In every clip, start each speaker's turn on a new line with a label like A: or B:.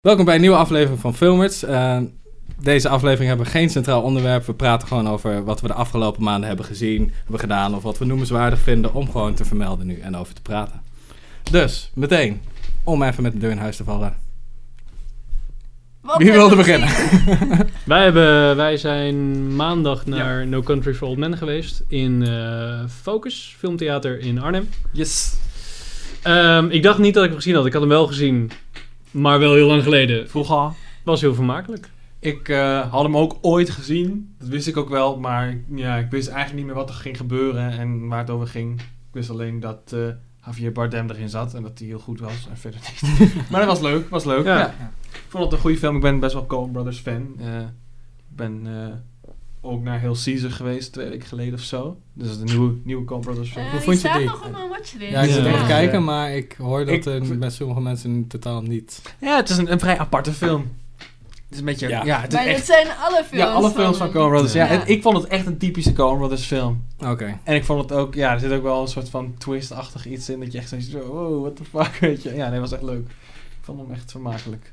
A: Welkom bij een nieuwe aflevering van Filmers. Eh, deze aflevering hebben we geen centraal onderwerp. We praten gewoon over wat we de afgelopen maanden hebben gezien, hebben gedaan of wat we noemenswaardig vinden om gewoon te vermelden nu en over te praten. Dus, meteen, om even met de deur in huis te vallen.
B: Wat
A: Wie
B: hebben
A: wilde
B: we
A: beginnen?
B: gezien?
C: Wij, hebben, wij zijn maandag naar No Country for Old Men geweest in eh, Focus, filmtheater in Arnhem.
A: Yes.
C: Ehm, ik dacht niet dat ik hem gezien had. Ik had hem wel gezien, maar wel heel lang geleden.
D: Vroeger.
C: Was heel vermakelijk.
D: Ik eh, had hem ook ooit gezien. Dat wist ik ook wel. Maar ja, ik wist eigenlijk niet meer wat er ging gebeuren en waar het over ging. Ik wist alleen dat eh Javier Bardem erin zat en dat hij heel goed was. En verder niet. maar dat was leuk. was leuk.
C: Ja.
D: Ja. Ik vond het een goede film. Ik ben best wel Coen Brothers fan. Eh, ik ben eh, ook naar Heel Caesar geweest twee weken geleden of zo. Dus de nieuwe, nieuwe Coen Brothers film.
B: Eh,
A: Hoe
B: die
A: vond je
B: staat
A: die?
B: nog op mijn watchlist.
A: Ja, ik zit
C: Ja.
A: even te
C: Ja.
A: kijken, maar ik hoor dat
D: Ik-
A: er bij sommige mensen in totaal niet...
D: Ja, het is een, een vrij aparte film. Het is een beetje...
A: Ja.
D: Ja, het is
B: Maar
D: echt...
B: dat zijn alle films
D: Ja, alle films van
B: hem.
D: Coen Brothers. Ja.
B: Ja.
D: En ik vond het echt een typische Coen Brothers film.
A: Oké.
D: En ik vond het ook, ja, er zit ook wel een soort van twist-achtig iets in. Dat je echt zoiets zo, wow, what the fuck, weet je. Ja, nee, was echt leuk. Ik vond hem echt vermakelijk.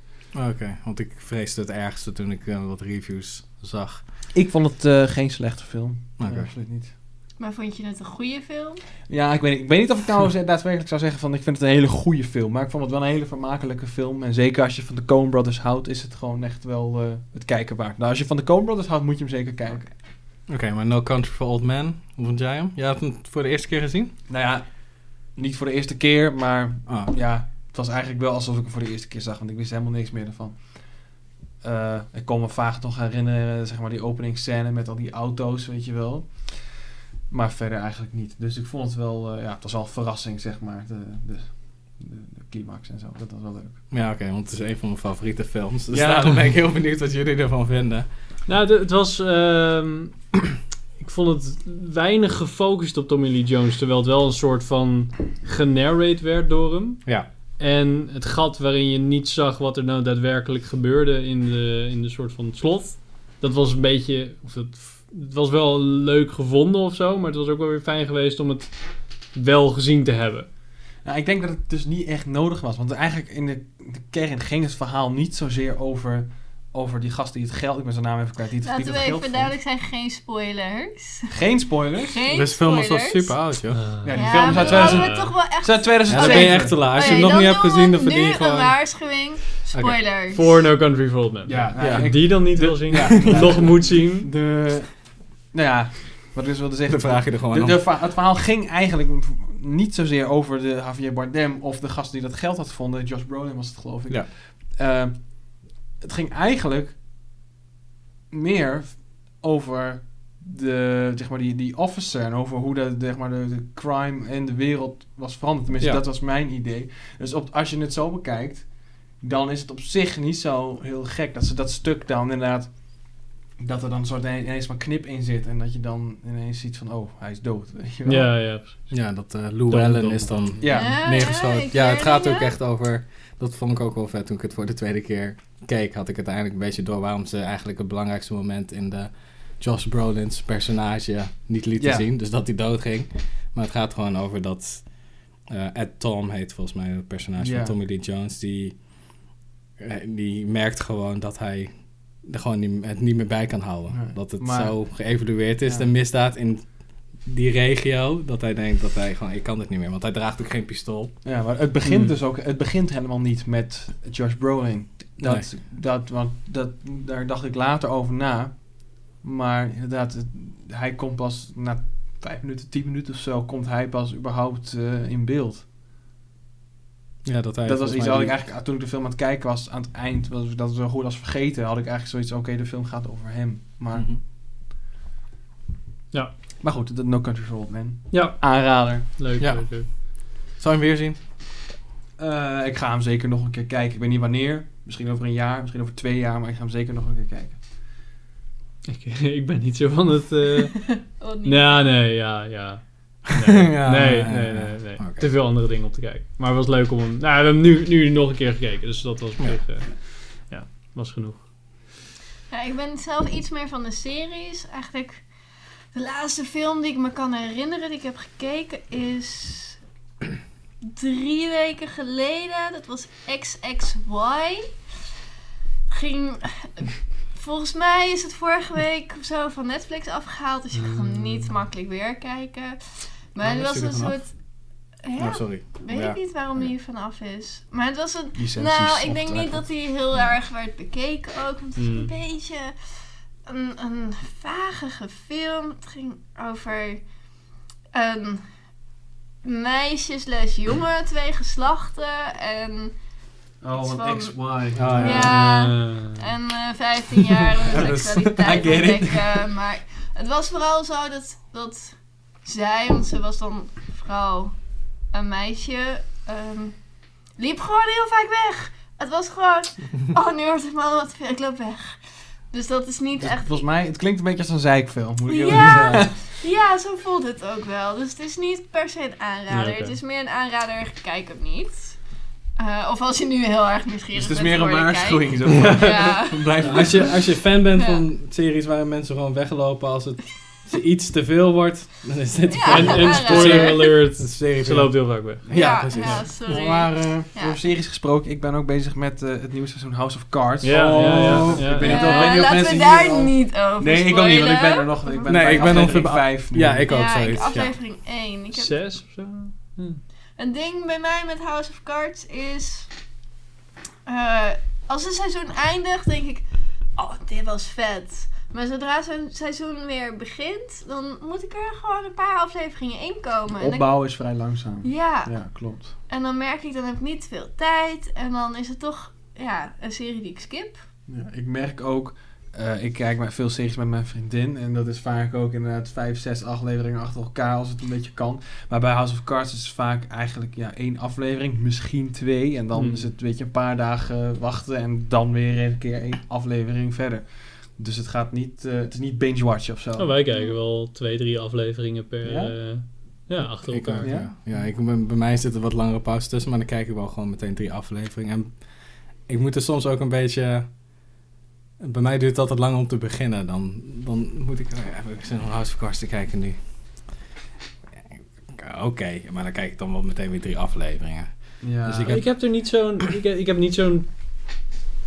A: Oké, want ik vreesde het ergste toen ik eh, wat reviews zag.
D: Ik vond het eh, geen slechte film.
A: Oké.
D: Nee, absoluut niet.
B: Maar vond je het een goede film?
D: Ja, ik weet, niet- ik weet niet of ik nou ze- daadwerkelijk zou zeggen van, ik vind het een hele goede film. Maar ik vond het wel een hele vermakelijke film. En zeker als je van de Coen Brothers houdt, is het gewoon echt wel eh, het kijken waard. Nou, als je van de Coen Brothers houdt, moet je hem zeker kijken.
A: Oké, maar No Country for Old Men, hoe vond jij hem? Jij had hem voor de eerste keer gezien?
D: Nou ja, niet voor de eerste keer, maar
A: Ah,
D: ja, het was eigenlijk wel alsof ik hem voor de eerste keer zag, want ik wist helemaal niks meer ervan. Eh, ik kon me vaag nog herinneren, zeg maar, die openingsscène met al die auto's, weet je wel. Maar verder eigenlijk niet. Dus ik vond het wel, eh, ja, het was wel een verrassing, zeg maar, de, de, de, de climax en zo. Dat was wel leuk.
A: Ja, oké, want het is een van mijn favoriete films. Dus
D: Ja.
A: daarom ben ik heel benieuwd wat jullie ervan vinden.
C: Nou, het, het was... ehm, ik vond het weinig gefocust op Tommy Lee Jones, terwijl het wel een soort van genarrate werd door hem.
A: Ja.
C: En het gat waarin je niet zag wat er nou daadwerkelijk gebeurde in de, in de soort van slot. Dat was een beetje. Of dat, het was wel leuk gevonden of zo. Maar het was ook wel weer fijn geweest om het wel gezien te hebben.
D: Nou, ik denk dat het dus niet echt nodig was. Want eigenlijk in de, de kern ging het verhaal niet zozeer over, over die gast die het geld... Ik ben zijn naam even kwijt. Die het, die
B: Laten we
D: het geld
B: even
D: vond.
B: duidelijk zijn, geen spoilers.
D: Geen spoilers.
B: Geen
A: Deze film is wel
B: spoilers.
A: super oud, joh.
D: Ja,
B: Ja,
D: die film is
B: maar
D: uit
B: dan hadden we
D: 2000
C: 2000
B: toch wel echt...
D: is uit
A: Ja, dan ben je
D: 2007.
A: echt te laat. Als je
B: Oké,
A: hem nog niet hebt
B: doen we
A: gezien, dan
B: nu
A: verdien je
B: een
A: gewoon...
B: waarschuwing. Spoilers.
C: Voor No Country for Old Men.
D: Ja, nou,
A: Ja.
D: ik-
C: Die dan niet wil zien,
D: ja.
C: nog moet zien.
D: De, nou ja, wat ik dus wilde zeggen.
A: Dan vraag je er gewoon
D: de,
A: om.
D: de verha- het verhaal ging eigenlijk niet zozeer over de Javier Bardem of de gast die dat geld had gevonden. Josh Brolin was het, geloof ik.
A: Ja.
D: Eh, het ging eigenlijk meer over de, zeg maar die, die officer en over hoe de, zeg maar de, de crime en de wereld was veranderd. Tenminste,
A: Ja.
D: dat was mijn idee. Dus op, als je het zo bekijkt, dan is het op zich niet zo heel gek dat ze dat stuk dan inderdaad. Dat er dan een soort ineens maar knip in zit. En dat je dan ineens ziet van, oh, hij is dood. Weet je wel?
C: Ja, ja.
A: Ja, dat eh Llewellyn
C: Dom, dom.
A: is dan
D: Ja.
A: neergeschoten.
B: ik
A: Ja, het gaat ook
B: herinner
A: echt over... Dat vond ik ook wel vet toen ik het voor de tweede keer keek. Had ik het uiteindelijk een beetje door waarom ze eigenlijk het belangrijkste moment in de Josh Brolin's personage niet lieten
D: Ja.
A: zien. Dus dat hij doodging. Maar het gaat gewoon over dat eh, Ed Tom heet volgens mij het personage
D: Ja.
A: van Tommy Lee Jones. Die, eh, die merkt gewoon dat hij er gewoon niet, het niet meer bij kan houden.
D: Nee.
A: Dat het
D: Maar-
A: zo geëvalueerd is,
D: Ja.
A: de misdaad in die regio, dat hij denkt dat hij gewoon, ik kan dit niet meer, want hij draagt ook geen pistool.
D: Ja, maar het begint
C: Hmm.
D: dus ook, het begint helemaal niet met Josh Brolin. Dat,
A: Nee.
D: dat, want dat, daar dacht ik later over na. Maar inderdaad, het- hij komt pas na vijf minuten, tien minuten of zo, komt hij pas überhaupt eh, in beeld.
A: Ja, dat, hij
D: dat was
A: volgens
D: iets
A: mij
D: wat ik
A: die-
D: eigenlijk, ah, toen ik de film aan het kijken was, aan het eind, was ik dat zo goed als vergeten, had ik eigenlijk zoiets, oké, de film gaat over hem. Maar,
A: Mhm.
D: maar goed, dat- No Country for Old Men.
C: Ja,
D: Aanrader.
C: leuk.
A: Ja.
C: leuk, leuk.
A: Zou je hem weer zien?
D: Eh, ik ga hem zeker nog een keer kijken. Ik weet niet wanneer. Misschien over een jaar, misschien over twee jaar, maar ik ga hem zeker nog een keer kijken.
C: Ik, ik ben niet zo van het. eh
B: Oh, nee.
C: nou, nee, ja, ja. Nee,
A: Ja,
C: nee,
A: ja, ja, ja.
C: nee. nee, nee.
A: Oké.
C: Te veel andere dingen om te kijken. Maar het was leuk om hem... Nou, we hebben hem nu, nu nog een keer gekeken. Dus dat was op
A: Ja.
C: zich... eh, ja, was genoeg.
B: Ja, ik ben zelf iets meer van de series. Eigenlijk de laatste film die ik me kan herinneren die ik heb gekeken is drie weken geleden. Dat was XXY. ging. Volgens mij is het vorige week of zo van Netflix afgehaald, dus je kan hem niet makkelijk weer kijken. Maar
A: Hmm. Waarom
B: het
A: is
B: was
A: die er
B: een
A: vanaf?
B: soort. Ja,
A: Oh, sorry.
B: weet
A: Ja.
B: ik niet waarom die er vanaf is. Maar het was een.
D: Licenties
B: Nou, ik denk
D: optrekken. Hmm.
B: niet dat hij heel erg werd bekeken ook. Want het was een
C: Mm.
B: beetje een, een vagige film. Het ging over een meisje slash jongen, twee geslachten en,
D: Oh,
B: iets
D: een
B: van-
D: XY.
A: Ah, ja.
B: Ja.
C: Eh,
B: en eh, 15 jaar om
D: Dus,
B: seksualiteit
D: I get it.
B: ontdekken. eh, Maar het was vooral zo dat, dat zij, want ze was dan vooral een meisje, ehm, liep gewoon heel vaak weg. Het was gewoon, oh nu wordt het me wat te veel, ik loop weg. Dus dat is niet
D: Dus
B: echt
D: Volgens mij, het klinkt een beetje als een zeikfilm. Moet ik eerlijk zeggen.
B: Ja, ja, zo voelt het ook wel. Dus het is niet per se een aanrader.
C: Ja, oké.
B: Het is meer een aanrader, kijk hem niet. Eh, of als je nu heel erg nieuwsgierig
D: Dus
B: bent.
D: het is meer een
B: geworden,
D: waarschuwing. Zo. van,
B: kijk. Ja.
D: Blijf
A: Ja, als, je, als je fan bent
B: Ja.
A: van series waarin mensen gewoon weglopen als het als er iets te veel wordt, dan is dit
B: Ja,
C: en, en
B: aanrader.
C: spoiler
A: een
C: alert,
A: serie.
C: ze loopt heel vaak weg.
A: Ja,
B: Ja,
A: precies.
B: ja, sorry.
D: Maar eh
B: Ja.
D: voor series gesproken, ik ben ook bezig met eh, het nieuwe seizoen House of Cards.
C: Ja,
A: Oh.
C: ja, ja, ja.
D: Ik weet niet
B: Ja,
D: of- ik weet niet of
B: Eh, laten
D: mensen
B: we
D: hier
B: daar
D: al-
B: niet over
D: Nee, ik ook niet, want ik ben er nog. Ik ben
A: Nee,
D: bij
A: ik ben
D: aflevering
A: ongeveer-
D: 5 nu.
A: Ja, ik ook
B: ja, ik,
A: zoiets. ja.
B: aflevering 1. Ik heb
C: Zes of zo?
B: Een ding bij mij met House of Cards is. eh, als een seizoen eindigt, denk ik. Oh, dit was vet. Maar zodra zo'n seizoen weer begint, dan moet ik er gewoon een paar afleveringen in komen. Oh, En dan,
D: Opbouw is vrij langzaam.
B: ja,
D: Ja, klopt.
B: en dan merk ik, dan heb ik niet veel tijd. En dan is het toch ja, een serie die ik skip.
D: Ja, ik merk ook, eh, ik kijk maar veel series met mijn vriendin. En dat is vaak ook inderdaad 5, 6 afleveringen achter elkaar als het een beetje kan. Maar bij House of Cards is het vaak eigenlijk ja, één aflevering, misschien twee. En dan
C: Hmm.
D: is het weet je, een paar dagen wachten en dan weer een keer één aflevering verder. Dus het gaat niet, eh, het is niet binge-watchen of zo.
C: Nou, wij kijken wel twee, drie afleveringen per...
D: Ja?
C: eh, ja, achter
A: Ik,
C: elkaar.
A: ook,
D: Ja?
A: ja. Ja, ik, ben- bij mij zit er wat langere pauze tussen, maar dan kijk ik wel gewoon meteen drie afleveringen. En ik moet er soms ook een beetje... Bij mij duurt het altijd lang om te beginnen. Dan, dan moet ik... oh ja, heb ik zin om House of Cards te kijken nu? Ja, Oké, maar dan kijk ik dan wel meteen weer drie afleveringen.
D: ja.
A: Dus ik
C: Ik heb er niet zo'n. Ik, heb- ik heb niet zo'n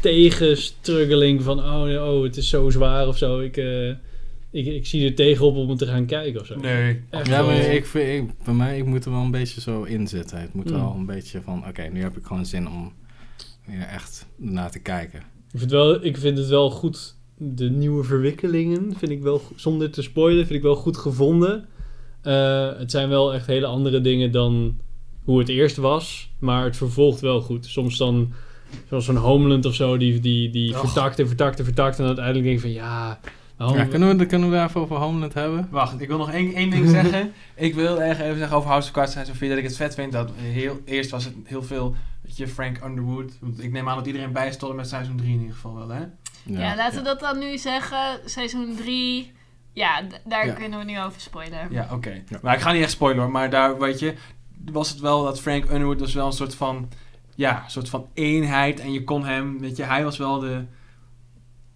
C: tegenstruggeling van. Oh, oh, het is zo zwaar of zo. Ik, eh, ik, ik zie er tegenop om het te gaan kijken of zo.
D: Nee.
C: Echt
A: Ja, maar
C: wel-
A: ik, vind- ik, bij mij, ik moet er wel een beetje zo in zitten. Het moet
C: Mm.
A: wel een beetje van, oké, nu heb ik gewoon zin om weer echt naar te kijken.
C: Ik vind, wel, ik vind het wel goed. De nieuwe verwikkelingen vind ik wel. go- Zonder te spoilen, vind ik wel goed gevonden. Eh, het zijn wel echt hele andere dingen dan hoe het eerst was. Maar het vervolgt wel goed. Soms dan. Zoals zo'n Homeland of zo, die, die, die
D: Och.
C: vertakt en vertakt en vertakt. En uiteindelijk denk ik van ja. waarom-
A: Ja, kunnen, we, kunnen we daarvoor over Homeland hebben?
D: Wacht, ik wil nog één, één ding zeggen. Ik wil echt even zeggen over House of Cards en Sophie dat ik het vet vind. Dat heel, eerst was het heel veel, weet je, Frank Underwood. Want ik neem aan dat iedereen bijstond met seizoen 3 in ieder geval wel, hè?
B: Ja, laten we dat dan nu zeggen. Seizoen 3. Ja, d- daar
A: Ja.
B: kunnen we nu over spoilen.
D: Ja, oké.
A: Ja.
D: Maar ik ga niet echt spoilen hoor, maar daar, weet je, was het wel dat Frank Underwood was wel een soort van, ja, een soort van eenheid. En je kon hem, weet je, hij was wel de,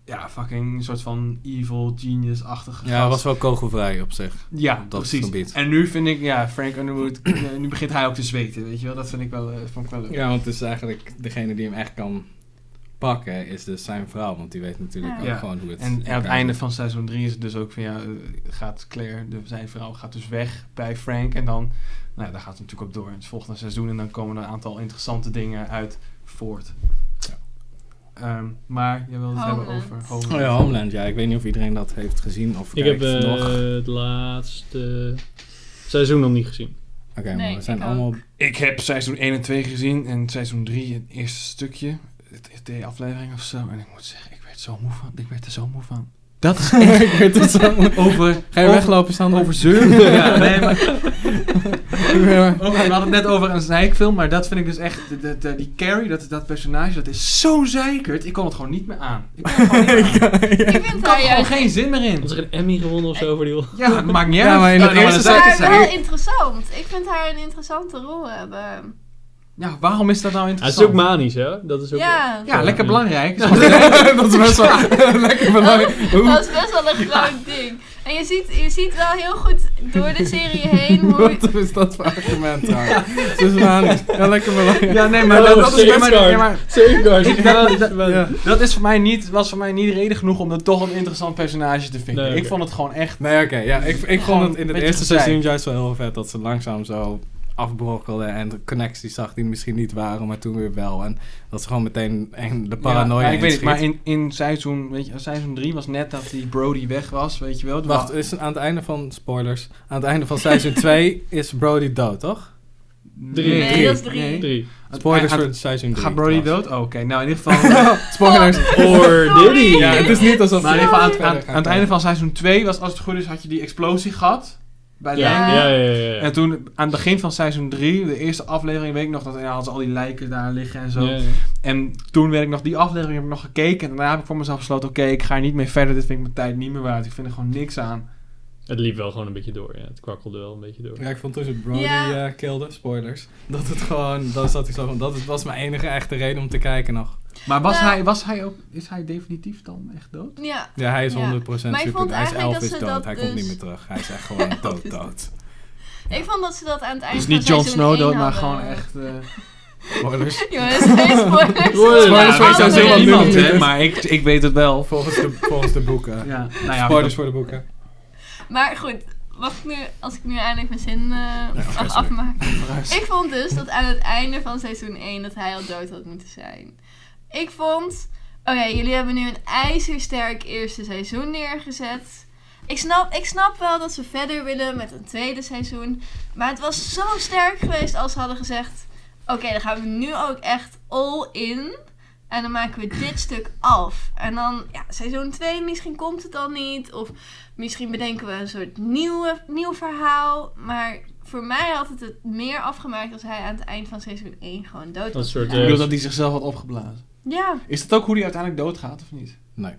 D: ja, fucking soort van evil genius-achtige
A: Ja,
D: gast.
A: was wel kogelvrij op zich.
D: Ja,
A: dat
D: precies.
A: gebied.
D: En nu vind ik, ja, Frank Underwood, eh, nu begint hij ook te zweten, weet je wel. Dat vind ik wel, eh, vond ik wel leuk.
A: Ja, want het is eigenlijk degene die hem echt kan pakken, is dus zijn vrouw. Want die weet natuurlijk
B: Ja.
A: ook
D: Ja.
A: gewoon hoe het...
D: En aan het
A: elkaar
D: einde
A: zit.
D: van seizoen 3 is het dus ook van, ja, eh, gaat Claire, de, zijn vrouw, gaat dus weg bij Frank. En dan, nou ja, daar gaat het natuurlijk op door in het volgende seizoen. En dan komen er een aantal interessante dingen uit voort.
A: Ja.
D: Ehm, maar jij wilde het hebben
B: Homeland.
D: over Homeland.
A: Oh ja, Homeland, ja. Ik weet niet of iedereen dat heeft gezien of
C: Ik heb
A: kijkt
C: eh,
A: nog. Oké,
C: het laatste seizoen nog niet gezien.
A: maar
B: Nee,
A: we zijn
B: ik
A: allemaal...
D: Ik heb seizoen 1 en 2 gezien en seizoen 3 het eerste stukje. Het is de aflevering of zo. En ik moet zeggen, ik werd zo moe van. Ik werd er zo moe van. Dat is echt
A: ik weet het zo.
D: over...
A: Ga je
D: over-
A: weglopen, Sander?
D: Over zeuren. ja, nee, maar
A: Ja.
D: Ook, we hadden het net over een zeikfilm, maar dat vind ik dus echt... de- de- de- die Carrie, dat, dat personage, dat is zo zeikerd. Ik kon het gewoon niet meer aan. Ik kon het gewoon, niet meer aan.
B: Ik vind
D: Ik
B: daar
D: had gewoon
B: juist
D: geen zin meer in.
C: Had er een Emmy gewonnen of zo voor die rol?
D: Ja, het maakt niet
A: Ja,
D: uit.
A: maar in het
D: Nou, dan
A: eerste
D: wel een
B: maar
D: zeikerd
B: wel
D: zijn.
B: interessant. Ik vind haar een interessante rol hebben.
D: Ja, waarom is dat nou
C: Hij is ook
D: interessant?
C: manisch, hè? Dat is ook...
B: Ja,
D: ja, lekker
C: Ja.
D: belangrijk.
A: dat is best wel lekker belangrijk. Hoe-
B: dat is best wel een groot ding. En En je ziet, je ziet wel heel goed door de serie heen hoe...
A: Wat is dat voor argument trouwens? Tussen aanhalingstekens. Ja, lekker belangrijk.
D: Ja, nee,
C: Oh,
D: maar dat, dat is bij mij... ja, maar
C: Safeguard.
D: Ik-
C: Ja,
D: dat-
C: maar-
A: Ja.
D: dat is voor mij niet, was voor mij niet reden genoeg om dat toch een interessant personage te vinden.
C: Nee, oké.
D: Ik vond het gewoon echt...
A: Nee, oké. ja, ik, ik
D: Gewoon
A: vond het in
D: een
A: het
D: beetje
A: eerste
D: gezeik.
A: seizoen juist wel heel vet dat ze langzaam zo afbrokkelde en de connecties zag die misschien niet waren, maar toen weer wel. En dat ze gewoon meteen en de paranoia
D: Ja, maar ik weet het,
A: inschiet.
D: maar in, in seizoen, weet je, seizoen 3 was net dat die Brody weg was, weet je wel.
A: Wacht, is aan het einde van, spoilers, aan het einde van seizoen 2 is Brody dood, toch?
C: Drie.
B: Nee, dat is drie.
C: Drie.
A: eh, Spoilers
D: Aan-
A: voor seizoen 3.
D: Gaat Brody dood? Oh, Oké, nou in ieder geval...
A: spoilers.
C: Or did he?
A: Ja, het is niet alsof...
D: Maar in ieder geval aan, het- aan,
A: Verder gaan
D: aan het einde van seizoen 2 was, als het goed is, had je die explosie gehad. Bij de
C: Ja,
D: lijken.
C: ja, ja. ja, ja.
D: En toen, aan het begin van seizoen 3, de eerste aflevering, weet ik nog dat ja, hadden ze al die lijken daar liggen en zo.
C: Ja, ja.
D: En toen werd ik nog, die aflevering heb ik nog gekeken. En daarna heb ik voor mezelf besloten, oké, ik ga er niet mee verder. Dit vind ik mijn tijd niet meer waard. Ik vind er gewoon niks aan.
C: Het liep wel gewoon een beetje door, ja. Het kwakkelde wel een beetje door.
A: Ja, ik vond toen ze Brody
B: Ja.
A: eh, kilde, spoilers, dat het gewoon, dan zat hij zo van, dat is- was mijn enige echte reden om te kijken nog.
D: Maar was,
B: Nou.
D: hij, was hij ook, is hij definitief dan echt dood?
B: Ja.
A: Ja, hij is
B: Ja.
A: 100% super.
B: Maar ik vond
A: hij is
B: eigenlijk
A: elf
B: dat
A: is
B: ze
A: dood.
B: dat
A: hij komt
B: dus-
A: niet meer terug. Hij is echt gewoon
B: Elf is
A: dood dood.
B: Ik vond dat ze dat aan het eind
D: Dus niet
B: van
D: Jon
B: seizoen
D: Snow
B: één
D: dood, maar
B: hadden.
D: gewoon echt... eh,
A: Spoilers.
B: Jongens, geen spoilers.
C: Spoilers
A: voor
B: Alle
A: sowieso
B: mensen.
A: helemaal niemand,
D: niemand,
A: hè,
D: hè. Maar ik, ik weet het wel.
A: Volgens de, volgens de boeken.
D: Ja, nou ja,
A: Spoilers voor de boeken.
B: Maar goed, wacht ik nu, als ik nu eindelijk mijn zin eh,
A: ga
B: mag
A: zo.
B: afmaken.
D: Vooruit.
B: Ik vond dus dat aan het einde van seizoen 1 dat hij al dood had moeten zijn. Ik vond, oké, jullie hebben nu een ijzersterk eerste seizoen neergezet. Ik snap, ik snap wel dat ze verder willen met een tweede seizoen. Maar het was zo sterk geweest als ze hadden gezegd: Oké, dan gaan we nu ook echt all in. En dan maken we dit stuk af. En dan, ja, seizoen 2, misschien komt het dan niet. Of misschien bedenken we een soort nieuwe, nieuw verhaal. Maar voor mij had het het meer afgemaakt als hij aan het eind van seizoen 1 gewoon dood
C: Een
B: was.
C: soort, eh,
D: Ik
B: gegaan.
D: bedoel dat hij zichzelf had opgeblazen.
B: Ja,
D: Is dat ook hoe hij uiteindelijk doodgaat, of niet?
A: Nee.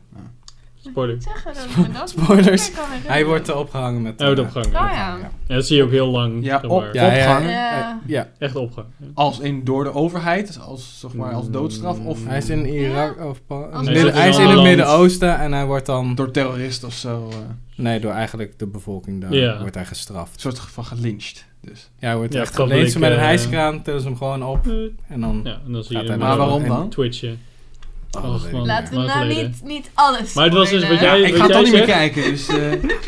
C: Spoiler.
B: zeggen dat ik me dat niet
A: Spoilers.
B: meer kan herinneren.
A: Hij wordt eh, opgehangen met...
C: Hij
A: eh,
C: wordt opgehangen.
B: Oh
C: Ja.
B: ja.
C: dat zie je ook heel lang.
D: Ja,
C: zeg
D: op-
C: maar.
A: Ja, hij-
B: eh,
D: Opgehangen?
A: hij-
B: Ja.
A: ja.
C: Echt opgehangen. Ja.
D: Als in door de overheid, dus als, zeg maar, als doodstraf, of
A: Hij is in Irak of... Pa-
B: Als-
A: midden-
C: Hij
A: hij is
C: zit in
A: in het
C: een
A: Midden-Oosten en hij wordt dan...
D: door terroristen of zo. eh, een
A: Nee, door eigenlijk de bevolking daar
C: Ja.
A: wordt hij gestraft.
D: soort van gelyncht. Dus.
A: Ja, hij wordt
C: Ja,
A: echt
C: public,
A: gelezen met een
C: eh,
A: hijskraan, tillen ze hem gewoon op en dan...
C: Ja, en dan zie je
A: Gaat
C: hem
A: hij
D: Maar
C: wel
D: waarom dan?
C: twitchen.
A: Oh,
C: Och,
A: dat weet ik
C: man.
A: niet
B: Laten we
C: Lang
B: nou
C: geleden.
B: niet, niet alles
C: Maar het was dus wat
B: spoilen.
C: jij-
D: ik
C: wat
D: ga het toch niet meer
C: zegt?
D: kijken, dus... eh,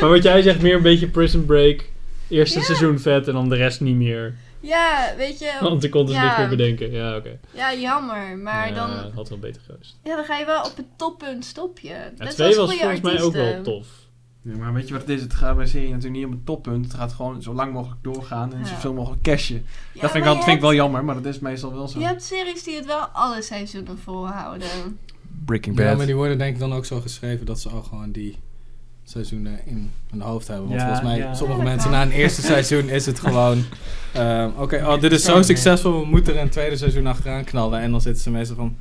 C: Maar wat jij zegt, meer een beetje Prison Break. Eerste
B: Ja.
C: seizoen vet en dan de rest niet meer.
B: Ja, weet je,
C: Want ik kon dus
B: Oh, Ja.
C: niks meer bedenken. Ja, oké.
B: ja, jammer. Maar
C: Ja,
B: dan,
C: Had wel beter geweest.
B: ja, dan ga je wel op het toppunt stop je.
C: Ja,
B: Net
C: twee
B: zoals goede
C: was volgens mij ook wel
B: artiesten.
C: tof.
D: nee, maar weet je wat het is? Het gaat bij serie natuurlijk niet om het toppunt. Het gaat gewoon zo lang mogelijk doorgaan en
B: Ja.
D: zoveel mogelijk cashen.
B: Ja,
D: dat vind ik,
B: maar
D: wel,
B: je
D: vind ik wel
B: hebt-
D: jammer, maar dat is meestal wel zo.
B: Je hebt series die het wel alle seizoenen volhouden.
D: Breaking
A: Ja, maar die worden denk ik dan ook zo geschreven dat ze ook gewoon die seizoenen in hun hoofd hebben. Want
D: Ja,
A: volgens mij,
D: ja.
A: sommige
B: Ja, dat
A: mensen
B: kan.
A: na een eerste seizoen is het gewoon... ehm, Oké, oh, dit is zo
D: Ja.
A: succesvol, we moeten er een tweede seizoen achteraan knallen. En dan zitten ze meestal van...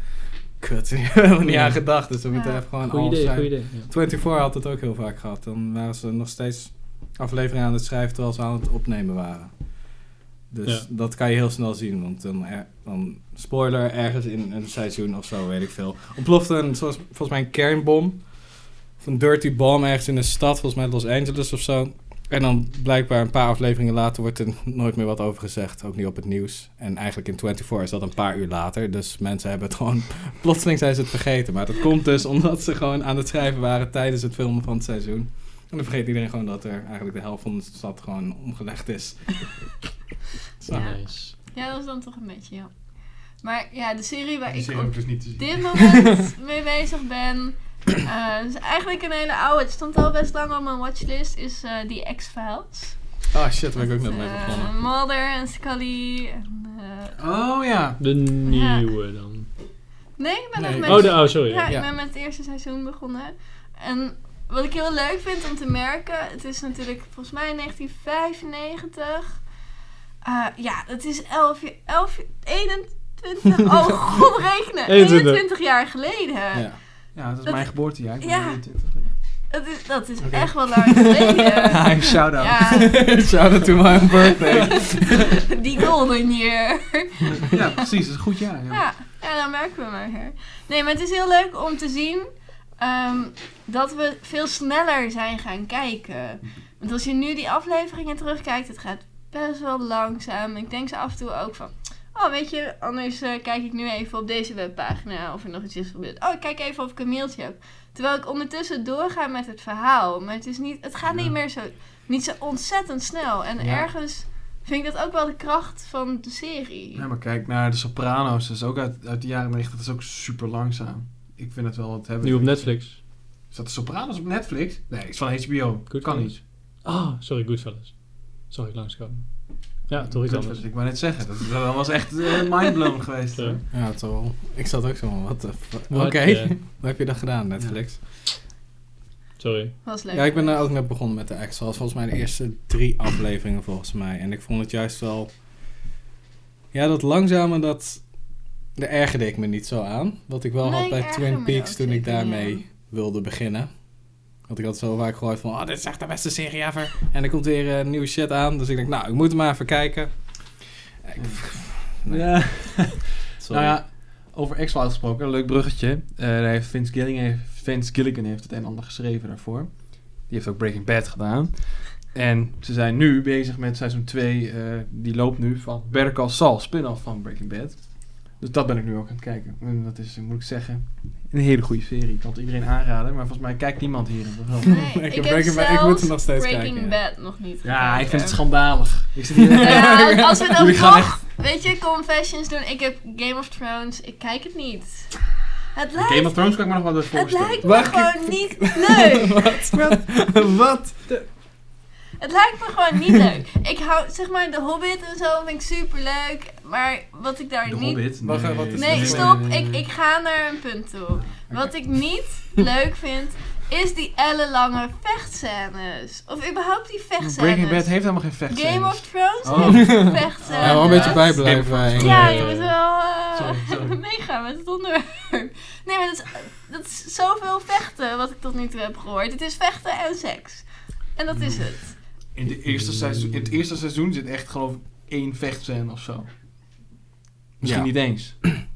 A: Kut, hier hebben we niet aan gedacht. Dus we moeten
B: Ja.
A: even gewoon
C: Goeie
A: alles
C: idee,
A: zijn.
C: goeie idee. ja.
A: 24 had het ook heel vaak gehad. Dan waren ze nog steeds afleveringen aan het schrijven terwijl ze aan het opnemen waren. Dus
C: Ja.
A: dat kan je heel snel zien, want dan, er- dan spoiler ergens in een seizoen of zo, weet ik veel. Ontplofte een, zoals, volgens mij een kernbom, of een dirty bomb ergens in een stad, volgens mij Los Angeles of zo. En dan blijkbaar een paar afleveringen later wordt er nooit meer wat over gezegd, ook niet op het nieuws. En eigenlijk in 24 is dat een paar uur later, dus mensen hebben het gewoon, plotseling zijn ze het vergeten. Maar dat komt dus omdat ze gewoon aan het schrijven waren tijdens het filmen van het seizoen. En dan vergeet iedereen gewoon dat er eigenlijk de helft van de stad gewoon omgelegd is. Zo.
B: Ja.
C: Nice.
B: Ja, dat is dan toch een beetje, ja. Maar ja, de serie waar
D: Die
B: ik
D: serie
B: op
D: hoef ik dus niet te zien.
B: dit moment mee bezig ben... eh, is eigenlijk een hele oude. Het stond al best lang op mijn watchlist. Is eh, die The X-Files.
A: Ah shit, daar ben ik ook net mee
B: Eh,
A: begonnen.
B: Mulder en Scully. En, eh,
D: Oh ja.
C: De nieuwe dan.
B: nee, ik ben
A: Nee. Oh,
B: nog met...
C: Oh, de, oh sorry.
B: Ja,
C: Ja.
B: ik
A: Ja.
B: ben met het eerste seizoen begonnen. En wat ik heel leuk vind om te merken, het is natuurlijk volgens mij in 1995. Eh, ja, dat is 11, jaar- 11, 21, oh god rekenen,
C: 21.
B: 21 jaar geleden.
A: Ja.
D: Ja, dat is
B: Dat-
D: mijn geboortejaar. Ik ben
B: Ja.
D: 23.
B: Dat is, dat is echt wel lang geleden.
D: Hi, shout-out.
B: ja,
A: Shout out to my birthday.
B: die golden year.
D: Ja, precies. Dat is een goed jaar. Ja.
B: Ja, ja dan merken we maar. Hè. Nee, maar het is heel leuk om te zien eh, ehm, dat we veel sneller zijn gaan kijken. Want als je nu die afleveringen terugkijkt, het gaat best wel langzaam. Ik denk ze af en toe ook van. Oh, weet je, anders eh, kijk ik nu even op deze webpagina of er nog iets is gebeurd. Oh, ik kijk even of ik een mailtje heb. Terwijl ik ondertussen doorga met het verhaal. Maar het, is niet, het gaat
D: Ja.
B: niet meer zo, niet zo ontzettend snel. En
D: Ja.
B: ergens vind ik dat ook wel de kracht van de serie.
D: Ja, maar kijk naar De Soprano's. Dat is ook uit, uit de jaren 90. Dat is ook super langzaam. Ik vind het wel wat hebben.
C: Nu op Netflix.
D: Is dat De Soprano's op Netflix? Nee, is van HBO.
C: Goed
D: kan
C: van.
D: niet.
C: Ah, sorry, Goodfellas. Zag ik langskomen. Ja, toch iets
D: Goed,
C: anders.
D: Ik wou net zeggen. Dat, dat was echt eh, mindblown geweest.
C: Sorry.
A: Ja, toch. wel. Ik zat ook zo van, wat de fuck. Oké,
C: What
D: eh?
C: the-
A: wat heb je dan gedaan, Netflix?
C: Sorry.
B: Was leuk.
A: Ja, ik ben daar ook net begonnen met de X-Files. Volgens mij de eerste drie afleveringen, volgens mij. En ik vond het juist wel... Ja, dat langzame, dat... Daar ergerde ik me niet zo aan. Wat ik wel
B: Nee,
A: had bij
B: ik erger me
A: Twin Peaks
B: ook
A: toen ik
B: zeker niet
A: daarmee
B: aan.
A: wilde beginnen. Want ik had zo vaak gehoord van... Oh, dit is echt de beste serie ever. En er komt weer eh, nieuwe shit aan. Dus ik denk, nou, ik moet hem maar even kijken. Ik- Nee,
D: Ja.
A: sorry.
D: Nou ja, over X-Files gesproken, een leuk bruggetje. Eh, daar heeft Vince, Gilligan heeft, Vince Gilligan heeft het een en ander geschreven daarvoor. Die heeft ook Breaking Bad gedaan. En ze zijn nu bezig met seizoen 2, eh, die loopt nu van Better Call Saul, spin-off van Breaking Bad. Dus dat ben ik nu ook aan het kijken. En dat is, moet ik zeggen, een hele goede serie. Ik kan het iedereen aanraden, maar volgens mij kijkt niemand hier in de film.
B: Nee,
A: Ik
B: ik,
A: heb
B: heb
A: Breaking Bad- ik
B: zelfs
A: moet hem nog steeds
B: Breaking
A: kijken, ja.
B: Bad nog niet
D: Ja, ik
B: gekeken.
D: vind het schandalig. Ik zit hier...
B: Ja, als we dan
D: Jullie gaan
B: toch, weet je, confessions doen. Ik heb Game of Thrones, ik kijk het niet. Het lijkt,
D: Game of Thrones kan ik me nog wel bij
B: het
D: voorstellen.
B: lijkt me
A: Wacht, ik-
B: gewoon niet leuk.
A: wat?
B: Het lijkt me gewoon niet leuk. Ik hou, zeg maar, The Hobbit en zo vind ik super leuk. Maar wat ik daar
D: De
B: niet...
D: Hobbit?
A: Wacht, wat is
B: Nee,
A: Nee,
B: stop.
D: nee, nee.
B: Ik, ik ga naar een punt toe. Wat ik niet leuk vind, is die ellenlange vechtscènes. Of überhaupt die vechtscènes.
D: Breaking Bad heeft helemaal geen vechtscènes.
B: Game of Thrones
D: Oh.
B: heeft vechtscènes.
A: Ja, wel een beetje bijblijven.
D: Game of
A: eh,
D: Thrones.
B: Ja,
D: Nee.
B: je moet wel eh,
D: Sorry, sorry.
B: meegaan met het onderwerp. Nee, maar dat is, eh, dat is zoveel vechten wat ik tot nu toe heb gehoord. Het is vechten en seks. En dat is het.
D: In, de eerste seizoen, in het eerste seizoen zit echt geloof ik één vechtscène of zo. Misschien
A: Ja.
D: niet eens.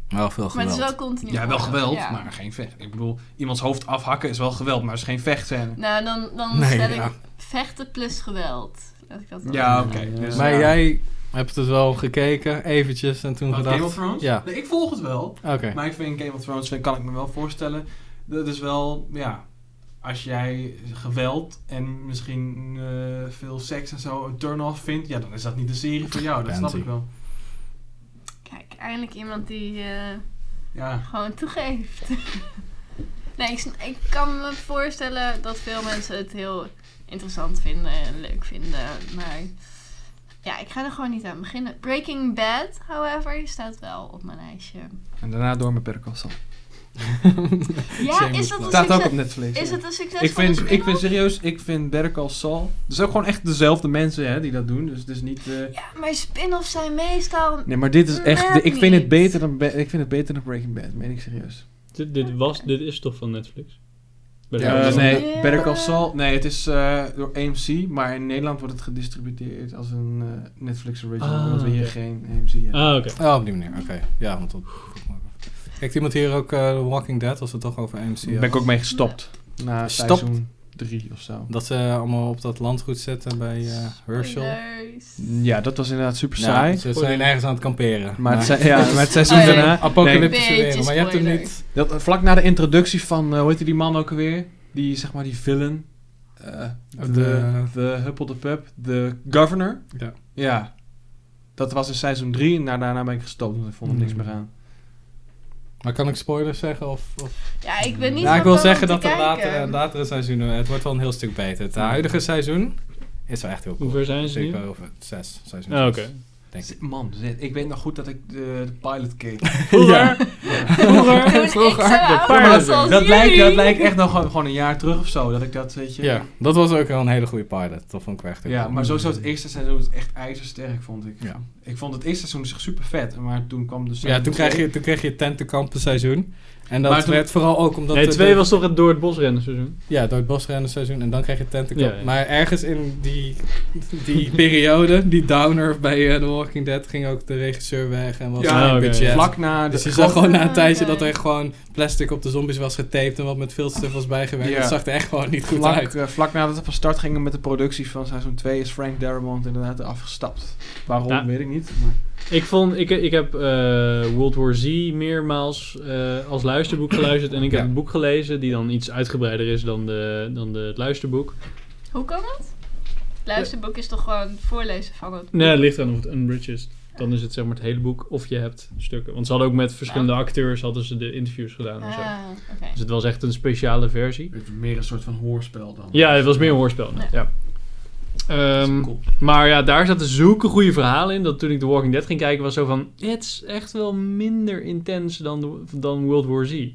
A: Wel veel geweld.
B: Maar het is wel continu.
D: Ja, wel
B: oorlog,
D: geweld,
B: ja.
D: maar geen vecht. Ik bedoel, iemands hoofd afhakken is wel geweld, maar is geen vechtscène.
B: Nou, dan, dan
A: Nee,
B: stel ik
A: ja.
B: vechten plus geweld. Laat ik dat dan
D: Ja, oké.
B: zeggen.
D: dus,
A: Maar
D: ja.
A: jij hebt het wel gekeken, eventjes, en toen
D: Wat,
A: gedacht...
D: Game of Thrones?
A: Ja.
D: Nee, ik volg het wel.
A: Oké.
D: Maar ik vind Game of Thrones, vind- kan ik me wel voorstellen. Dat is wel, ja... Als jij geweld en misschien eh, veel seks en zo een turn-off vindt... Ja, dan is dat niet de serie voor jou. Dat snap
A: Pansy.
D: ik wel.
B: Kijk, eindelijk iemand die eh,
D: Ja.
B: gewoon toegeeft. nee, ik, sn- ik kan me voorstellen dat veel mensen het heel interessant vinden en leuk vinden. Maar ja, ik ga er gewoon niet aan beginnen. Breaking Bad, however, staat wel op mijn lijstje.
D: En daarna door met Better Call Saul.
B: Ja,
A: Shameless
B: is dat een
A: plug.
D: Staat ook op
B: succes?
D: Netflix.
B: Is
D: ja.
B: het een succes?
D: Ik
B: van de
D: vind, ik vind
B: spin-off?
D: serieus, ik vind Better Call Saul. Dus ook gewoon echt dezelfde mensen hè, die dat doen. Dus het is niet. eh,
B: Ja, maar spin-offs zijn meestal...
D: Nee, maar dit is echt.
B: Net
D: ik vind het
B: niet.
D: beter dan, Be- ik vind het beter dan Breaking Bad. Meen ik serieus.
C: Dit, dit, was, dit is toch van Netflix? Ben
A: Ja,
C: ik-
A: dat
D: Eh,
A: is
D: nee,
B: een-
D: Better Call Saul. Nee, het is eh, door AMC, maar in Nederland wordt het gedistribueerd als een eh, Netflix original.
C: Ah,
D: omdat we hier
C: oké.
D: geen AMC hebben.
C: Ah, oké.
A: Oh, op die manier, oké. Ja, want dat... Kijkt iemand hier ook eh, The Walking Dead, als we het toch over AMC
D: Daar
A: hebben?
D: ben ik ook mee gestopt. Dus, eh, Na
A: Gestopt?
D: seizoen 3 of zo.
A: Dat ze allemaal op dat landgoed zitten bij eh, Herschel.
B: Spoilers.
D: Ja, dat was inderdaad super
A: Nou,
D: saai.
A: ze zijn ergens aan het kamperen.
D: Maar het, se- ja, maar het seizoen
B: Oh, ja.
D: daarna. Nee,
A: Apocalyptische
B: Beetje
A: wereld, maar je hebt hem
B: spoiler.
A: niet...
D: Dat, eh, vlak na de introductie van, eh, hoe heette die man ook alweer? Die, zeg maar, die villain. eh,
A: De-
D: de, de Huppel de Pup. De Governor.
A: Ja.
D: Ja. Dat was in seizoen 3 en daar- daarna ben ik gestopt, want ik vond er niks
A: Hmm.
D: meer aan.
A: Maar kan ik spoilers zeggen? Of, of...
B: Ja, ik ben niet
A: Nou, ik wil
B: van plan om
A: zeggen
B: te
A: dat de
B: kijken.
A: latere,
D: eh,
A: latere seizoenen... Het wordt wel een heel stuk beter. Het huidige seizoen is wel echt heel
C: Hoe
A: cool.
C: ver zijn ze nu?
A: Zeker over het zes seizoen.
C: Ah,
A: zes,
C: oké.
A: Denk ik.
D: Z- Man, z- ik weet nog goed dat ik de, de pilot keek.
A: Ja.
B: Toen
A: Vroeger,
B: ik zo
A: vroeger.
B: oud
C: paarden.
B: was als
D: dat, lijkt, dat
B: jullie.
D: lijkt echt nog gewoon, gewoon een jaar terug of zo. Dat ik dat, weet je.
A: Ja, dat was ook wel een hele goede pilot. Dat vond ik wel echt heel
D: Ja,
A: cool.
D: maar sowieso het eerste seizoen was echt ijzersterk, vond ik.
A: Ja.
D: Ik vond het eerste seizoen super vet, maar toen kwam de
A: Ja,
D: seizoen
A: toen kreeg,
D: twee.
A: je, toen kreeg je tentenkampen seizoen. En dat
D: Maar toen-
A: werd vooral ook omdat...
C: nee,
A: de-
C: twee
A: de-
C: was toch het door het bos rennen seizoen?
A: Ja, door het bosrennen seizoen en dan kreeg je Tentacle.
C: Ja, ja.
A: Maar ergens in die, die periode, die downer bij eh, The Walking Dead, ging ook de regisseur weg en was
D: Ja,
A: er geen
C: oké.
A: budget.
D: Vlak na
A: Dus
D: de
A: je zag gewoon na een
B: Ah,
A: tijdje
B: oké.
A: dat er gewoon plastic op de zombies was getaped en wat met filterstof was bijgewerkt.
D: Ja.
A: Dat zag er echt gewoon niet goed
D: vlak,
A: uit.
D: eh, vlak nadat we van start gingen met de productie van seizoen 2 is Frank Darabont inderdaad afgestapt. Waarom,
C: Ja.
D: weet ik niet. Maar
C: Ik, vond, ik, ik heb eh, World War Z meermaals eh, als luisterboek geluisterd. En ik heb
A: Ja.
C: het boek gelezen, die dan iets uitgebreider is dan, de, dan de, het luisterboek.
B: Hoe kan dat? Luisterboek is toch gewoon voorlezen van het.
C: Nee, het ligt aan of het unbridged is. Dan is het zeg maar het hele boek of je hebt stukken. Want ze hadden ook met verschillende acteurs hadden ze de interviews gedaan en zo.
B: Ah, oké.
C: Dus het was echt een speciale versie.
D: het is meer een soort van hoorspel dan.
C: Ja, het was meer een hoorspel. net, Ja.
D: Dat
C: Ehm,
D: is cool.
C: Maar ja, daar zaten zulke goede verhalen in. Dat toen ik The Walking Dead ging kijken, was zo van... Het is echt wel minder intens dan, de- dan World War Z.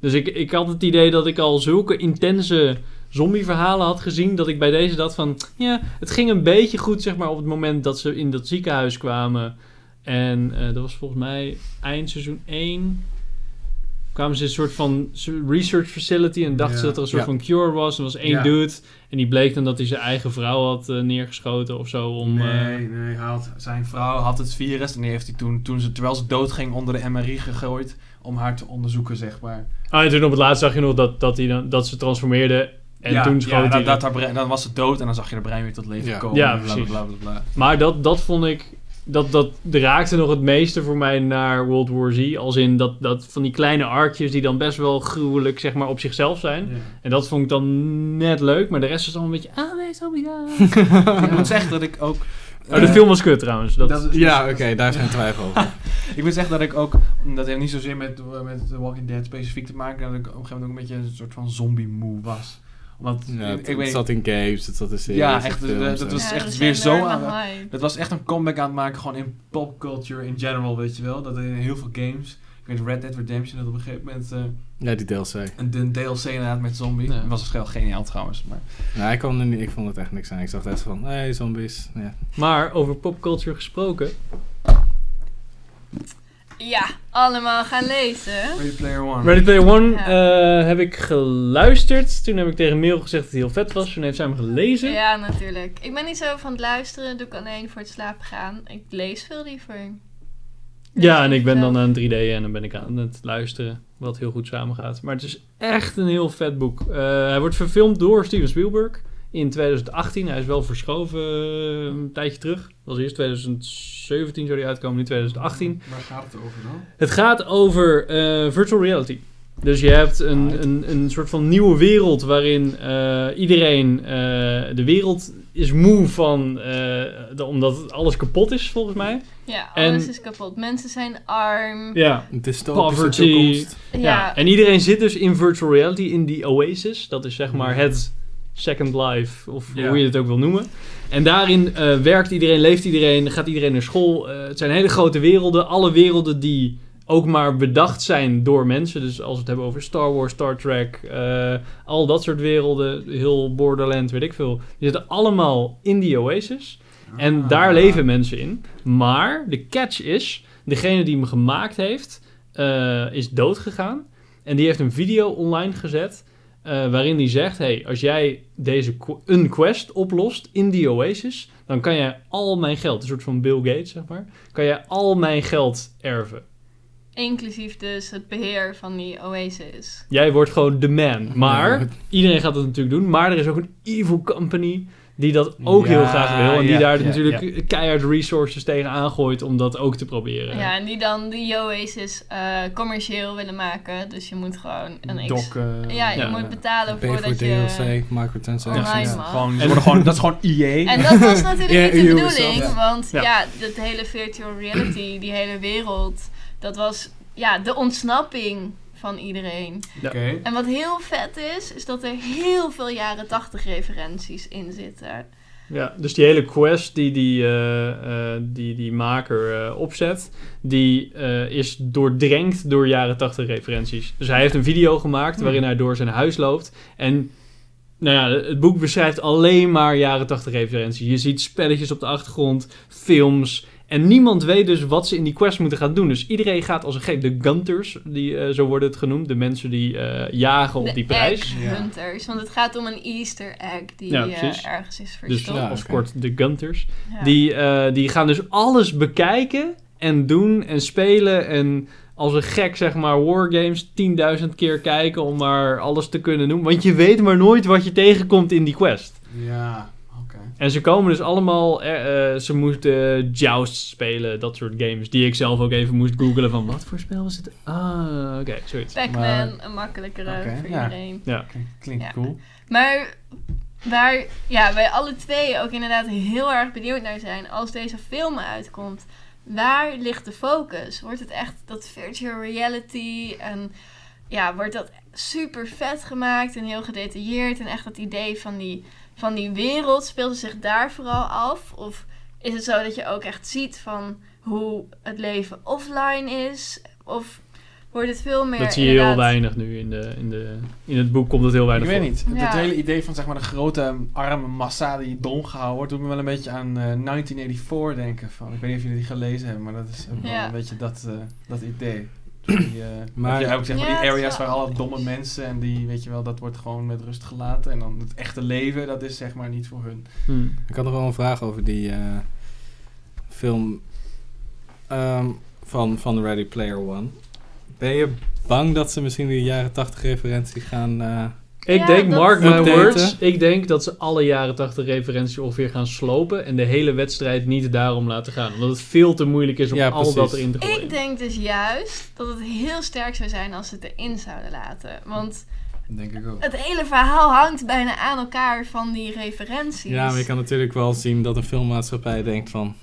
C: Dus ik, ik had het idee dat ik al zulke intense zombieverhalen had gezien... dat ik bij deze dacht van... Ja, het ging een beetje goed, zeg maar, op het moment dat ze in dat ziekenhuis kwamen. En eh, dat was volgens mij eind seizoen 1... kwamen ze in een soort van research facility... en dachten
D: Ja.
C: ze dat er een soort
A: Ja.
C: van cure was. Er was één
D: Ja.
C: dude... En die bleek dan dat hij zijn eigen vrouw had eh, neergeschoten of zo. Om, eh,
D: Nee, nee, hij had, zijn vrouw had het virus en die heeft hij toen, toen ze, terwijl ze doodging, onder de MRI gegooid om haar te onderzoeken, zeg maar.
C: Ah, en toen op het laatst zag je nog dat, dat, hij dan, dat ze transformeerde. En
D: ja,
C: toen schoot
D: ja,
C: hij.
D: dat, dat haar brein- dan was ze dood en dan zag je de brein weer tot leven
A: Ja.
D: komen.
C: Ja,
D: en bla,
C: precies.
D: bla, bla, bla, bla.
C: Maar dat, dat vond ik. Dat, dat raakte nog het meeste voor mij naar World War Z. Als in dat, dat van die kleine arkjes die dan best wel gruwelijk zeg maar, op zichzelf zijn.
D: Ja.
C: En dat vond ik dan net leuk. Maar de rest was allemaal een beetje. Ah, nee, zo ja.
D: Ik moet zeggen dat ik ook...
C: Oh, de
D: eh,
C: film was kut trouwens. Dat,
D: dat is-
A: Ja, oké, daar is geen twijfel over.
D: Ik moet zeggen dat ik ook, dat heeft niet zozeer met, met The Walking Dead specifiek te maken, dat ik op een gegeven moment ook een beetje een soort van zombie moe was. Omdat,
A: Ja,
D: ik,
A: het,
D: ik
A: het
D: weet niet,
A: zat in games, het zat in series.
D: Ja,
A: in
D: echt,
A: films
D: dat- dat
A: en-
D: was- is echt
B: dus
D: weer
B: een
D: zo
B: enorme
D: aan de-
B: hype.
D: dat was echt een comeback aan het maken gewoon in popculture in general, weet je wel. Dat in heel veel games, ik weet Red Dead Redemption, dat op een gegeven moment eh,
A: Ja, die DLC.
D: een, een DLC inderdaad met zombie.
C: Ja.
D: Dat was wel geniaal trouwens, maar...
A: Nou, ik, kwam er niet, ik vond het echt niks aan. Ik zag echt van, hé, hey, zombies. Ja.
C: Maar over popculture gesproken.
B: Ja, allemaal gaan lezen.
D: Ready Player One.
C: Ready Player One
B: Ja.
C: eh, heb ik geluisterd. Toen heb ik tegen Merel gezegd dat hij heel vet was. Toen heeft zij hem gelezen.
B: Ja, natuurlijk. Ik ben niet zo van het luisteren, doe ik alleen voor het slapen gaan. Ik lees veel liever.
C: Ja,
B: Dus
C: en ik ben dan aan het 3D en dan ben ik aan het luisteren, wat heel goed samengaat. Maar het is echt een heel vet boek. Eh, hij wordt verfilmd door Steven Spielberg in 2018. Hij is wel verschoven eh, een tijdje terug. Dat was eerst 2017 zou die uitkomen, nu 2018.
D: Waar gaat het over dan?
C: Het gaat over eh, virtual reality. Dus je hebt een, een, een soort van nieuwe wereld waarin eh, iedereen eh, de wereld is moe van, eh, de- omdat alles kapot is volgens mij.
B: Ja,
C: En-
B: alles is kapot. Mensen zijn arm. Ja,
C: Ja.
A: Een dystopische
C: Poverty.
A: toekomst.
C: Ja. en iedereen zit dus in virtual reality, in die Oasis. Dat is zeg maar het Second Life, of
D: Ja.
C: hoe je het ook wil noemen. En daarin eh, werkt iedereen, leeft iedereen, gaat iedereen naar school. Eh, het zijn hele grote werelden. Alle werelden die ook maar bedacht zijn door mensen. Dus als we het hebben over Star Wars, Star Trek, eh, al dat soort werelden. Heel Borderland, weet ik veel. Die zitten allemaal in die Oasis. En daar leven mensen in. Maar de catch is, degene die hem gemaakt heeft, eh, is doodgegaan. En die heeft een video online gezet eh, waarin die zegt... hey, als jij deze qu- een quest oplost in die Oasis... dan kan jij al mijn geld, een soort van Bill Gates zeg maar... kan jij al mijn geld erven.
B: Inclusief dus het beheer van die oasis.
C: Jij wordt gewoon de man. Maar
A: Ja.
C: iedereen gaat dat natuurlijk doen. Maar er is ook een evil company die dat ook heel
D: Ja,
C: graag wil. En die
D: ja,
C: daar
D: ja,
C: natuurlijk keihard resources tegen aangooit om dat ook te proberen.
B: Ja, en die dan die Oasis eh, commercieel willen maken. Dus je moet gewoon een X.
D: Dokken.
B: Ja, je
C: Ja.
B: moet betalen
A: Pay voor
B: voordat je.
A: DLC, microtransactions.
B: online
D: Ja,
B: mag.
D: gewoon, ze
C: En-
D: worden gewoon, dat is gewoon E EA.
B: En dat was natuurlijk
A: Ja,
B: niet de
A: Ubisoft.
B: bedoeling,
A: Ja.
B: want
C: Ja.
B: ja. dat hele virtual reality, die hele wereld, dat was ja, de ontsnapping van iedereen.
D: Oké.
B: En wat heel vet is, is dat er heel veel jaren 80 referenties in zitten.
C: Ja, dus die hele quest die die, eh, eh, die, die maker eh, opzet, die eh, is doordrenkt door jaren 80 referenties. Dus hij heeft een video gemaakt waarin hij door zijn huis loopt. En nou ja, het boek beschrijft alleen maar jaren 80 referenties. Je ziet spelletjes op de achtergrond, films. En niemand weet dus wat ze in die quest moeten gaan doen. Dus iedereen gaat als een gek. De gunters, die, eh, zo worden het genoemd. De mensen die eh, jagen op
B: de
C: die prijs.
B: Egg
D: Ja.
B: Hunters, want het gaat om een Easter egg die
C: Ja,
B: eh,
C: precies.
B: ergens is
C: Dus
B: verstopt.
A: Ja,
C: of
A: oké.
C: kort, de gunters.
B: Ja.
C: Die, eh, die gaan dus alles bekijken en doen en spelen en als een gek zeg maar wargames 10.000 keer kijken om maar alles te kunnen doen. Want je weet maar nooit wat je tegenkomt in die quest.
D: Ja, oké.
C: En ze komen dus allemaal, eh, eh, ze moesten Joust spelen, dat soort games. Die ik zelf ook even moest googlen van wat voor spel was het? Ah, oké, zoiets.
B: Pac-Man,
D: maar-
B: een makkelijkere
D: Oké,
B: voor
D: ja.
B: iedereen.
D: Klinkt- Klinkt
B: Ja.
D: cool.
B: Maar waar ja, wij alle twee ook inderdaad heel erg benieuwd naar zijn als deze film uitkomt. Waar ligt de focus? Wordt het echt dat virtual reality en ja, wordt dat super vet gemaakt en heel gedetailleerd en echt dat idee van die, van die wereld speelt het zich daar vooral af? Of is het zo dat je ook echt ziet van hoe het leven offline is? Of wordt het veel meer
C: Dat zie je heel
B: inderdaad-
C: weinig nu in, de, in, de, in het boek komt het heel
D: Ik
C: weinig
D: weet
C: voor.
D: niet. Het- Het
B: Ja.
D: hele idee van zeg maar de grote arme massa die dom gehouden wordt, doet me wel een beetje aan eh, 1984 denken. Van, ik weet niet of jullie die gelezen hebben, maar dat is ook wel
B: Ja.
D: een beetje dat, eh, dat idee. Die, eh,
A: Maar-
D: heb je ook zeg maar
B: Ja, het
D: die
B: is
D: areas
B: wel
D: waar alle
B: anders.
D: domme mensen en die, weet je wel, dat wordt gewoon met rust gelaten. En dan het echte leven, dat is zeg maar niet voor hun.
C: Hm.
A: Ik had nog wel een vraag over die eh, film ehm, van, van Ready Player One. Ben je bang dat ze misschien die jaren 80 referentie gaan... eh,
C: Ik
B: Ja,
C: denk,
B: dat-
C: mark my
A: Updaten.
C: words, ik denk dat ze alle jaren 80 referenties ongeveer gaan slopen en de hele wedstrijd niet daarom laten gaan. Omdat het veel te moeilijk is om
A: Ja,
C: al
A: precies.
C: dat erin te gooien.
B: Ik denk dus juist dat het heel sterk zou zijn als ze het erin zouden laten. Want
D: Denk ik ook.
B: het hele verhaal hangt bijna aan elkaar van die referenties.
A: Ja, maar je kan natuurlijk wel zien dat een filmmaatschappij denkt van...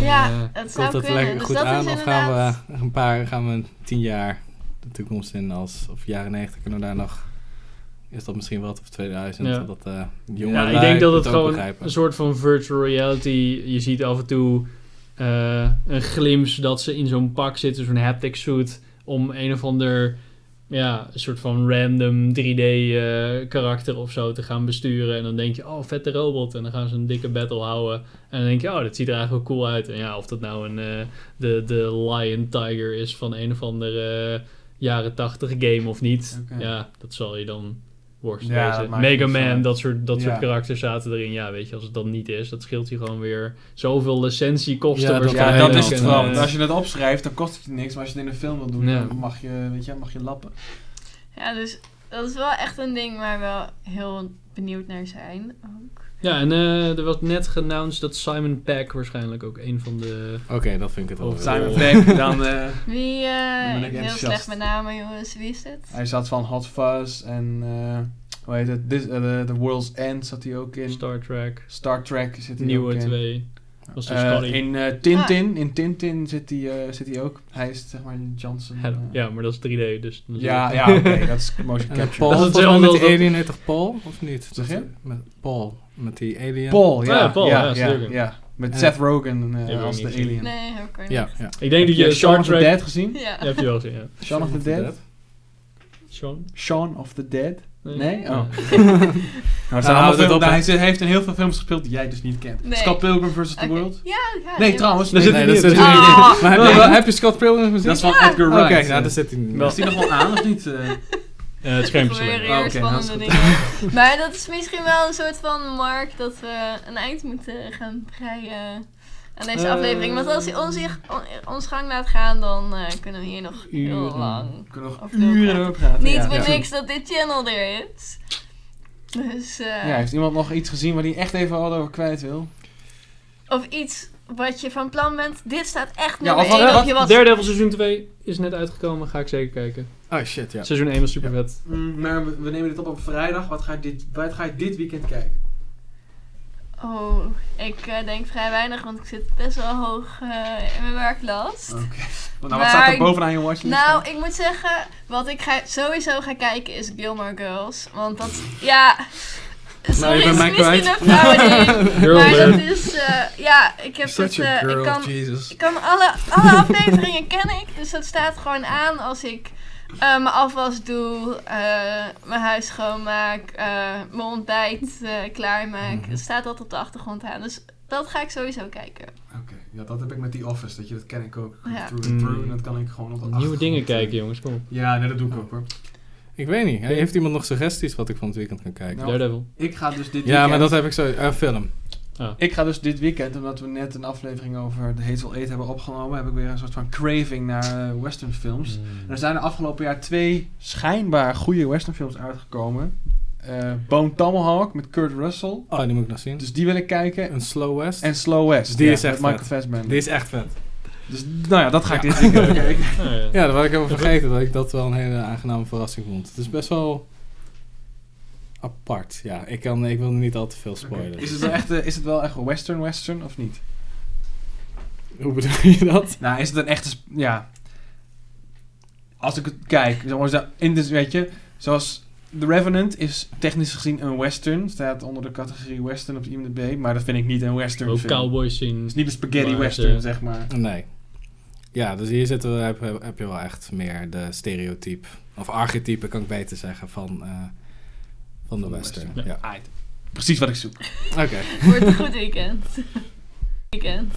B: Ja,
A: eh,
B: dat zou
A: komt dat
B: kunnen.
A: lekker
B: Dus
A: goed
B: dat is
A: aan of gaan
B: inderdaad-
A: we een paar, gaan we tien jaar de toekomst in als... Of jaren 90 kunnen we daar nog... Is dat misschien wat? Of 2000?
C: Ja.
A: Zodat eh jongeren
C: ja, ik denk dat het
A: ook
C: gewoon
A: begrijpen.
C: een soort van virtual reality. Je ziet af en toe eh, een glimps dat ze in zo'n pak zitten, zo'n haptic suit, om een of ander ja, een soort van random 3D eh, karakter of zo te gaan besturen. En dan denk je, oh, vette robot. En dan gaan ze een dikke battle houden. En dan denk je, oh, dat ziet er eigenlijk wel cool uit. En ja, of dat nou een, eh, de, de Lion Tiger is van een of andere eh, jaren 80 game of niet.
D: Oké.
C: Ja, dat zal je dan worst
D: Ja,
C: wezen.
D: dat maakt
C: Mega
D: niks
C: Man,
D: uit.
C: dat soort, dat soort
D: Ja.
C: karakters zaten erin. Ja, weet je, als het dan niet is, dat scheelt je gewoon weer zoveel licentiekosten.
A: Ja, dat- Van
C: waarschijnlijk.
D: Dus Ja,
A: Helen
D: dat is het
A: en,
D: vooral.
A: eh,
D: Want als je dat opschrijft, dan kost het je niks. Maar als je het in een film wil doen,
C: Ja.
D: dan mag je, weet je, mag je lappen.
B: Ja, dus dat is wel echt een ding waar we wel heel benieuwd naar zijn. Ook.
C: Ja, en eh, er was net geannounced dat Simon Peck waarschijnlijk ook een van de...
A: Oké, dat vind ik het wel.
C: Of
A: weer.
D: Simon Peck, dan... eh,
B: Wie, eh,
D: Dan ben ik
B: heel
D: enthousiast.
B: slecht met namen jongens, wie is het?
D: Hij zat van Hot Fuzz en eh hoe heet het? This, eh, the, The World's End zat hij ook in. Star,
C: Star Trek,
D: Trek zit hij ook
C: nieuwe
D: in.
C: twee. Was de
D: Eh,
C: Scotty.
D: in eh, Tintin,
B: Ah.
D: in Tintin zit hij, eh, zit hij ook. Hij is zeg maar Johnson.
C: Hello.
D: eh.
C: Ja, maar dat is 3D, dus... dan zit
D: ja,
C: het-
D: ja, oké, dat is motion
A: En met Eh, Paul,
C: Dat
D: capture.
C: is
A: volgens mij
C: hetzelfde
A: met
C: als
A: die
C: dat-
A: Alien heet toch Paul, of niet?
D: Zeg je?
A: Met Paul, met die alien.
D: Paul,
C: Ah,
D: ja,
C: ja, Paul, ja,
D: ja, ja,
C: zeker.
D: ja. Met
A: En-
D: Seth Rogen eh,
C: heb ik
D: als
C: niet
D: de
C: gezien.
D: alien.
B: Nee, heb ik er
A: Ja,
B: niet.
A: ja.
C: Ik denk dat
D: Heb
C: je
D: Shaun
C: Star
D: of the
C: Trek...
D: Dead gezien?
B: Ja.
C: Ja, heb je wel gezien, ja.
D: Shaun of the Dead?
C: Sean?
D: Shaun of the Dead? Nee? Oh.
C: Ja.
D: Nou, er zijn allemaal
A: houd het
D: films-
A: op,
D: nou,
A: hè.
D: hij zit- heeft in heel veel films gespeeld die jij dus niet kent.
B: Nee.
D: Scott Pilgrim vs. The
B: Oké.
D: World.
B: Ja, ja,
D: Nee,
B: ja.
D: trouwens.
C: Daar
D: nee,
C: zit hij
A: Nee,
C: niet
A: dat
C: in.
A: zit hij niet in.
B: Ah.
A: Maar heb je, heb je Scott Pilgrim gezien?
D: Dat is van Edgar
A: Oké,
D: Wright.
A: nou, daar zit hij niet
D: Is die nog wel aan of niet? eh?
C: Eh, het schermpje
B: Er
C: slingeren.
B: gebeuren
D: Oh,
B: hier
D: oké,
B: spannende
D: dat
B: dingen. maar dat is misschien wel een soort van mark dat we een eind moeten gaan breien aan deze
C: Eh.
B: aflevering. Want als hij ons, hier- on- ons gang laat gaan, dan eh, kunnen we hier nog heel
C: Uren.
B: lang.
D: kunnen nog
B: Of wil
D: uren
B: praten.
D: over praten.
B: Niet
D: ja.
B: voor
D: Ja.
B: niks dat dit channel er is. Dus, eh,
D: Ja, heeft iemand nog iets gezien waar hij echt even wat over kwijt wil?
B: of iets wat je van plan bent. Dit staat echt
D: Ja,
B: nummer
D: of wat-
B: één op
D: wat-
B: je wat.
C: Daredevil seizoen 2 is net uitgekomen, ga ik zeker kijken.
A: Oh shit, ja.
C: Seizoen 1 was super vet.
D: Mm, maar we, nemen dit op op vrijdag. Wat ga, je dit, wat ga je dit weekend kijken?
B: Oh, ik eh, denk vrij weinig, want ik zit best wel hoog eh, in mijn werklast.
D: Nou,
B: Maar-
D: wat staat er bovenaan je watchlist?
B: Nou, ik moet zeggen, wat ik ga, sowieso ga kijken is Gilmore Girls. Want dat, ja. Sorry,
A: Nou, je bent
B: het is
A: mij
B: misschien
A: kwijt.
B: een vrouwending.
C: Girl
B: maar dat
C: Bear.
B: is, eh, ja, ik heb het, eh, ik kan,
A: Jesus.
B: ik kan alle, alle afleveringen ken ik. Dus dat staat gewoon aan als ik eh, mijn afwas doe, eh, mijn huis schoonmaak, eh, mijn ontbijt eh, klaarmaak.
A: Mhm.
B: Het staat dat op de achtergrond aan. Dus dat ga ik sowieso kijken.
D: Oké. Ja, dat heb ik met The Office. Dat, je, dat ken ik ook.
B: Ja.
D: Through and through.
C: Mm.
D: En dat kan ik gewoon op de
C: Nieuwe
D: achtergrond.
C: dingen kijken, jongens. Kom op.
D: Ja, nee, dat doe ik ook hoor.
A: Ik weet niet. Heeft iemand nog suggesties wat ik van het weekend kan kijken?
D: Nou,
C: Daredevil. Ah.
D: Ik ga dus dit
A: ja, maar dat
D: weekend-
A: heb ik zo. Een film.
D: Ik ga dus dit weekend, omdat we net een aflevering over The Hateful Eight hebben opgenomen, heb ik weer een soort van craving naar eh, westernfilms.
A: Hmm.
D: En Er zijn de afgelopen jaar twee schijnbaar goede westernfilms uitgekomen. Eh, Bone Tomahawk met Kurt Russell.
A: Oh, die moet ik nog zien.
D: Dus die wil ik kijken.
A: een Slow West.
D: En Slow West.
A: Die
D: ja,
A: is echt
D: met Michael
A: vet.
D: Fassbender.
A: die is echt vet.
D: Dus nou ja, dat ga ik dit weekend kijken.
C: Ah, ja.
A: Ja, dat had ik even vergeten. Dat ik dat wel een hele aangename verrassing vond. Het is best wel apart. Ja, ik, kan, ik wil niet al te veel spoileren.
D: Is het, wel echt, eh, is het wel echt western western of niet?
A: Hoe bedoel je dat?
D: Nou, is het een echte... sp- Ja. Als ik het kijk, zoals dat- in de, weet je, zoals The Revenant is technisch gezien een western. Staat onder de categorie western op IMDb, maar dat vind ik niet een western
C: Ook
D: film.
C: cowboys
D: Het is
C: zien.
D: niet een spaghetti
C: Maar,
D: western,
C: eh,
D: zeg maar.
A: Nee. Ja, dus hier zitten, we- heb, heb- heb je wel echt meer de stereotype, of archetype kan ik beter zeggen, van, eh, van de western.
C: western,
A: Ja.
D: Aight. Precies wat ik zoek.
A: Oké.
B: Wordt een goed weekend. weekend.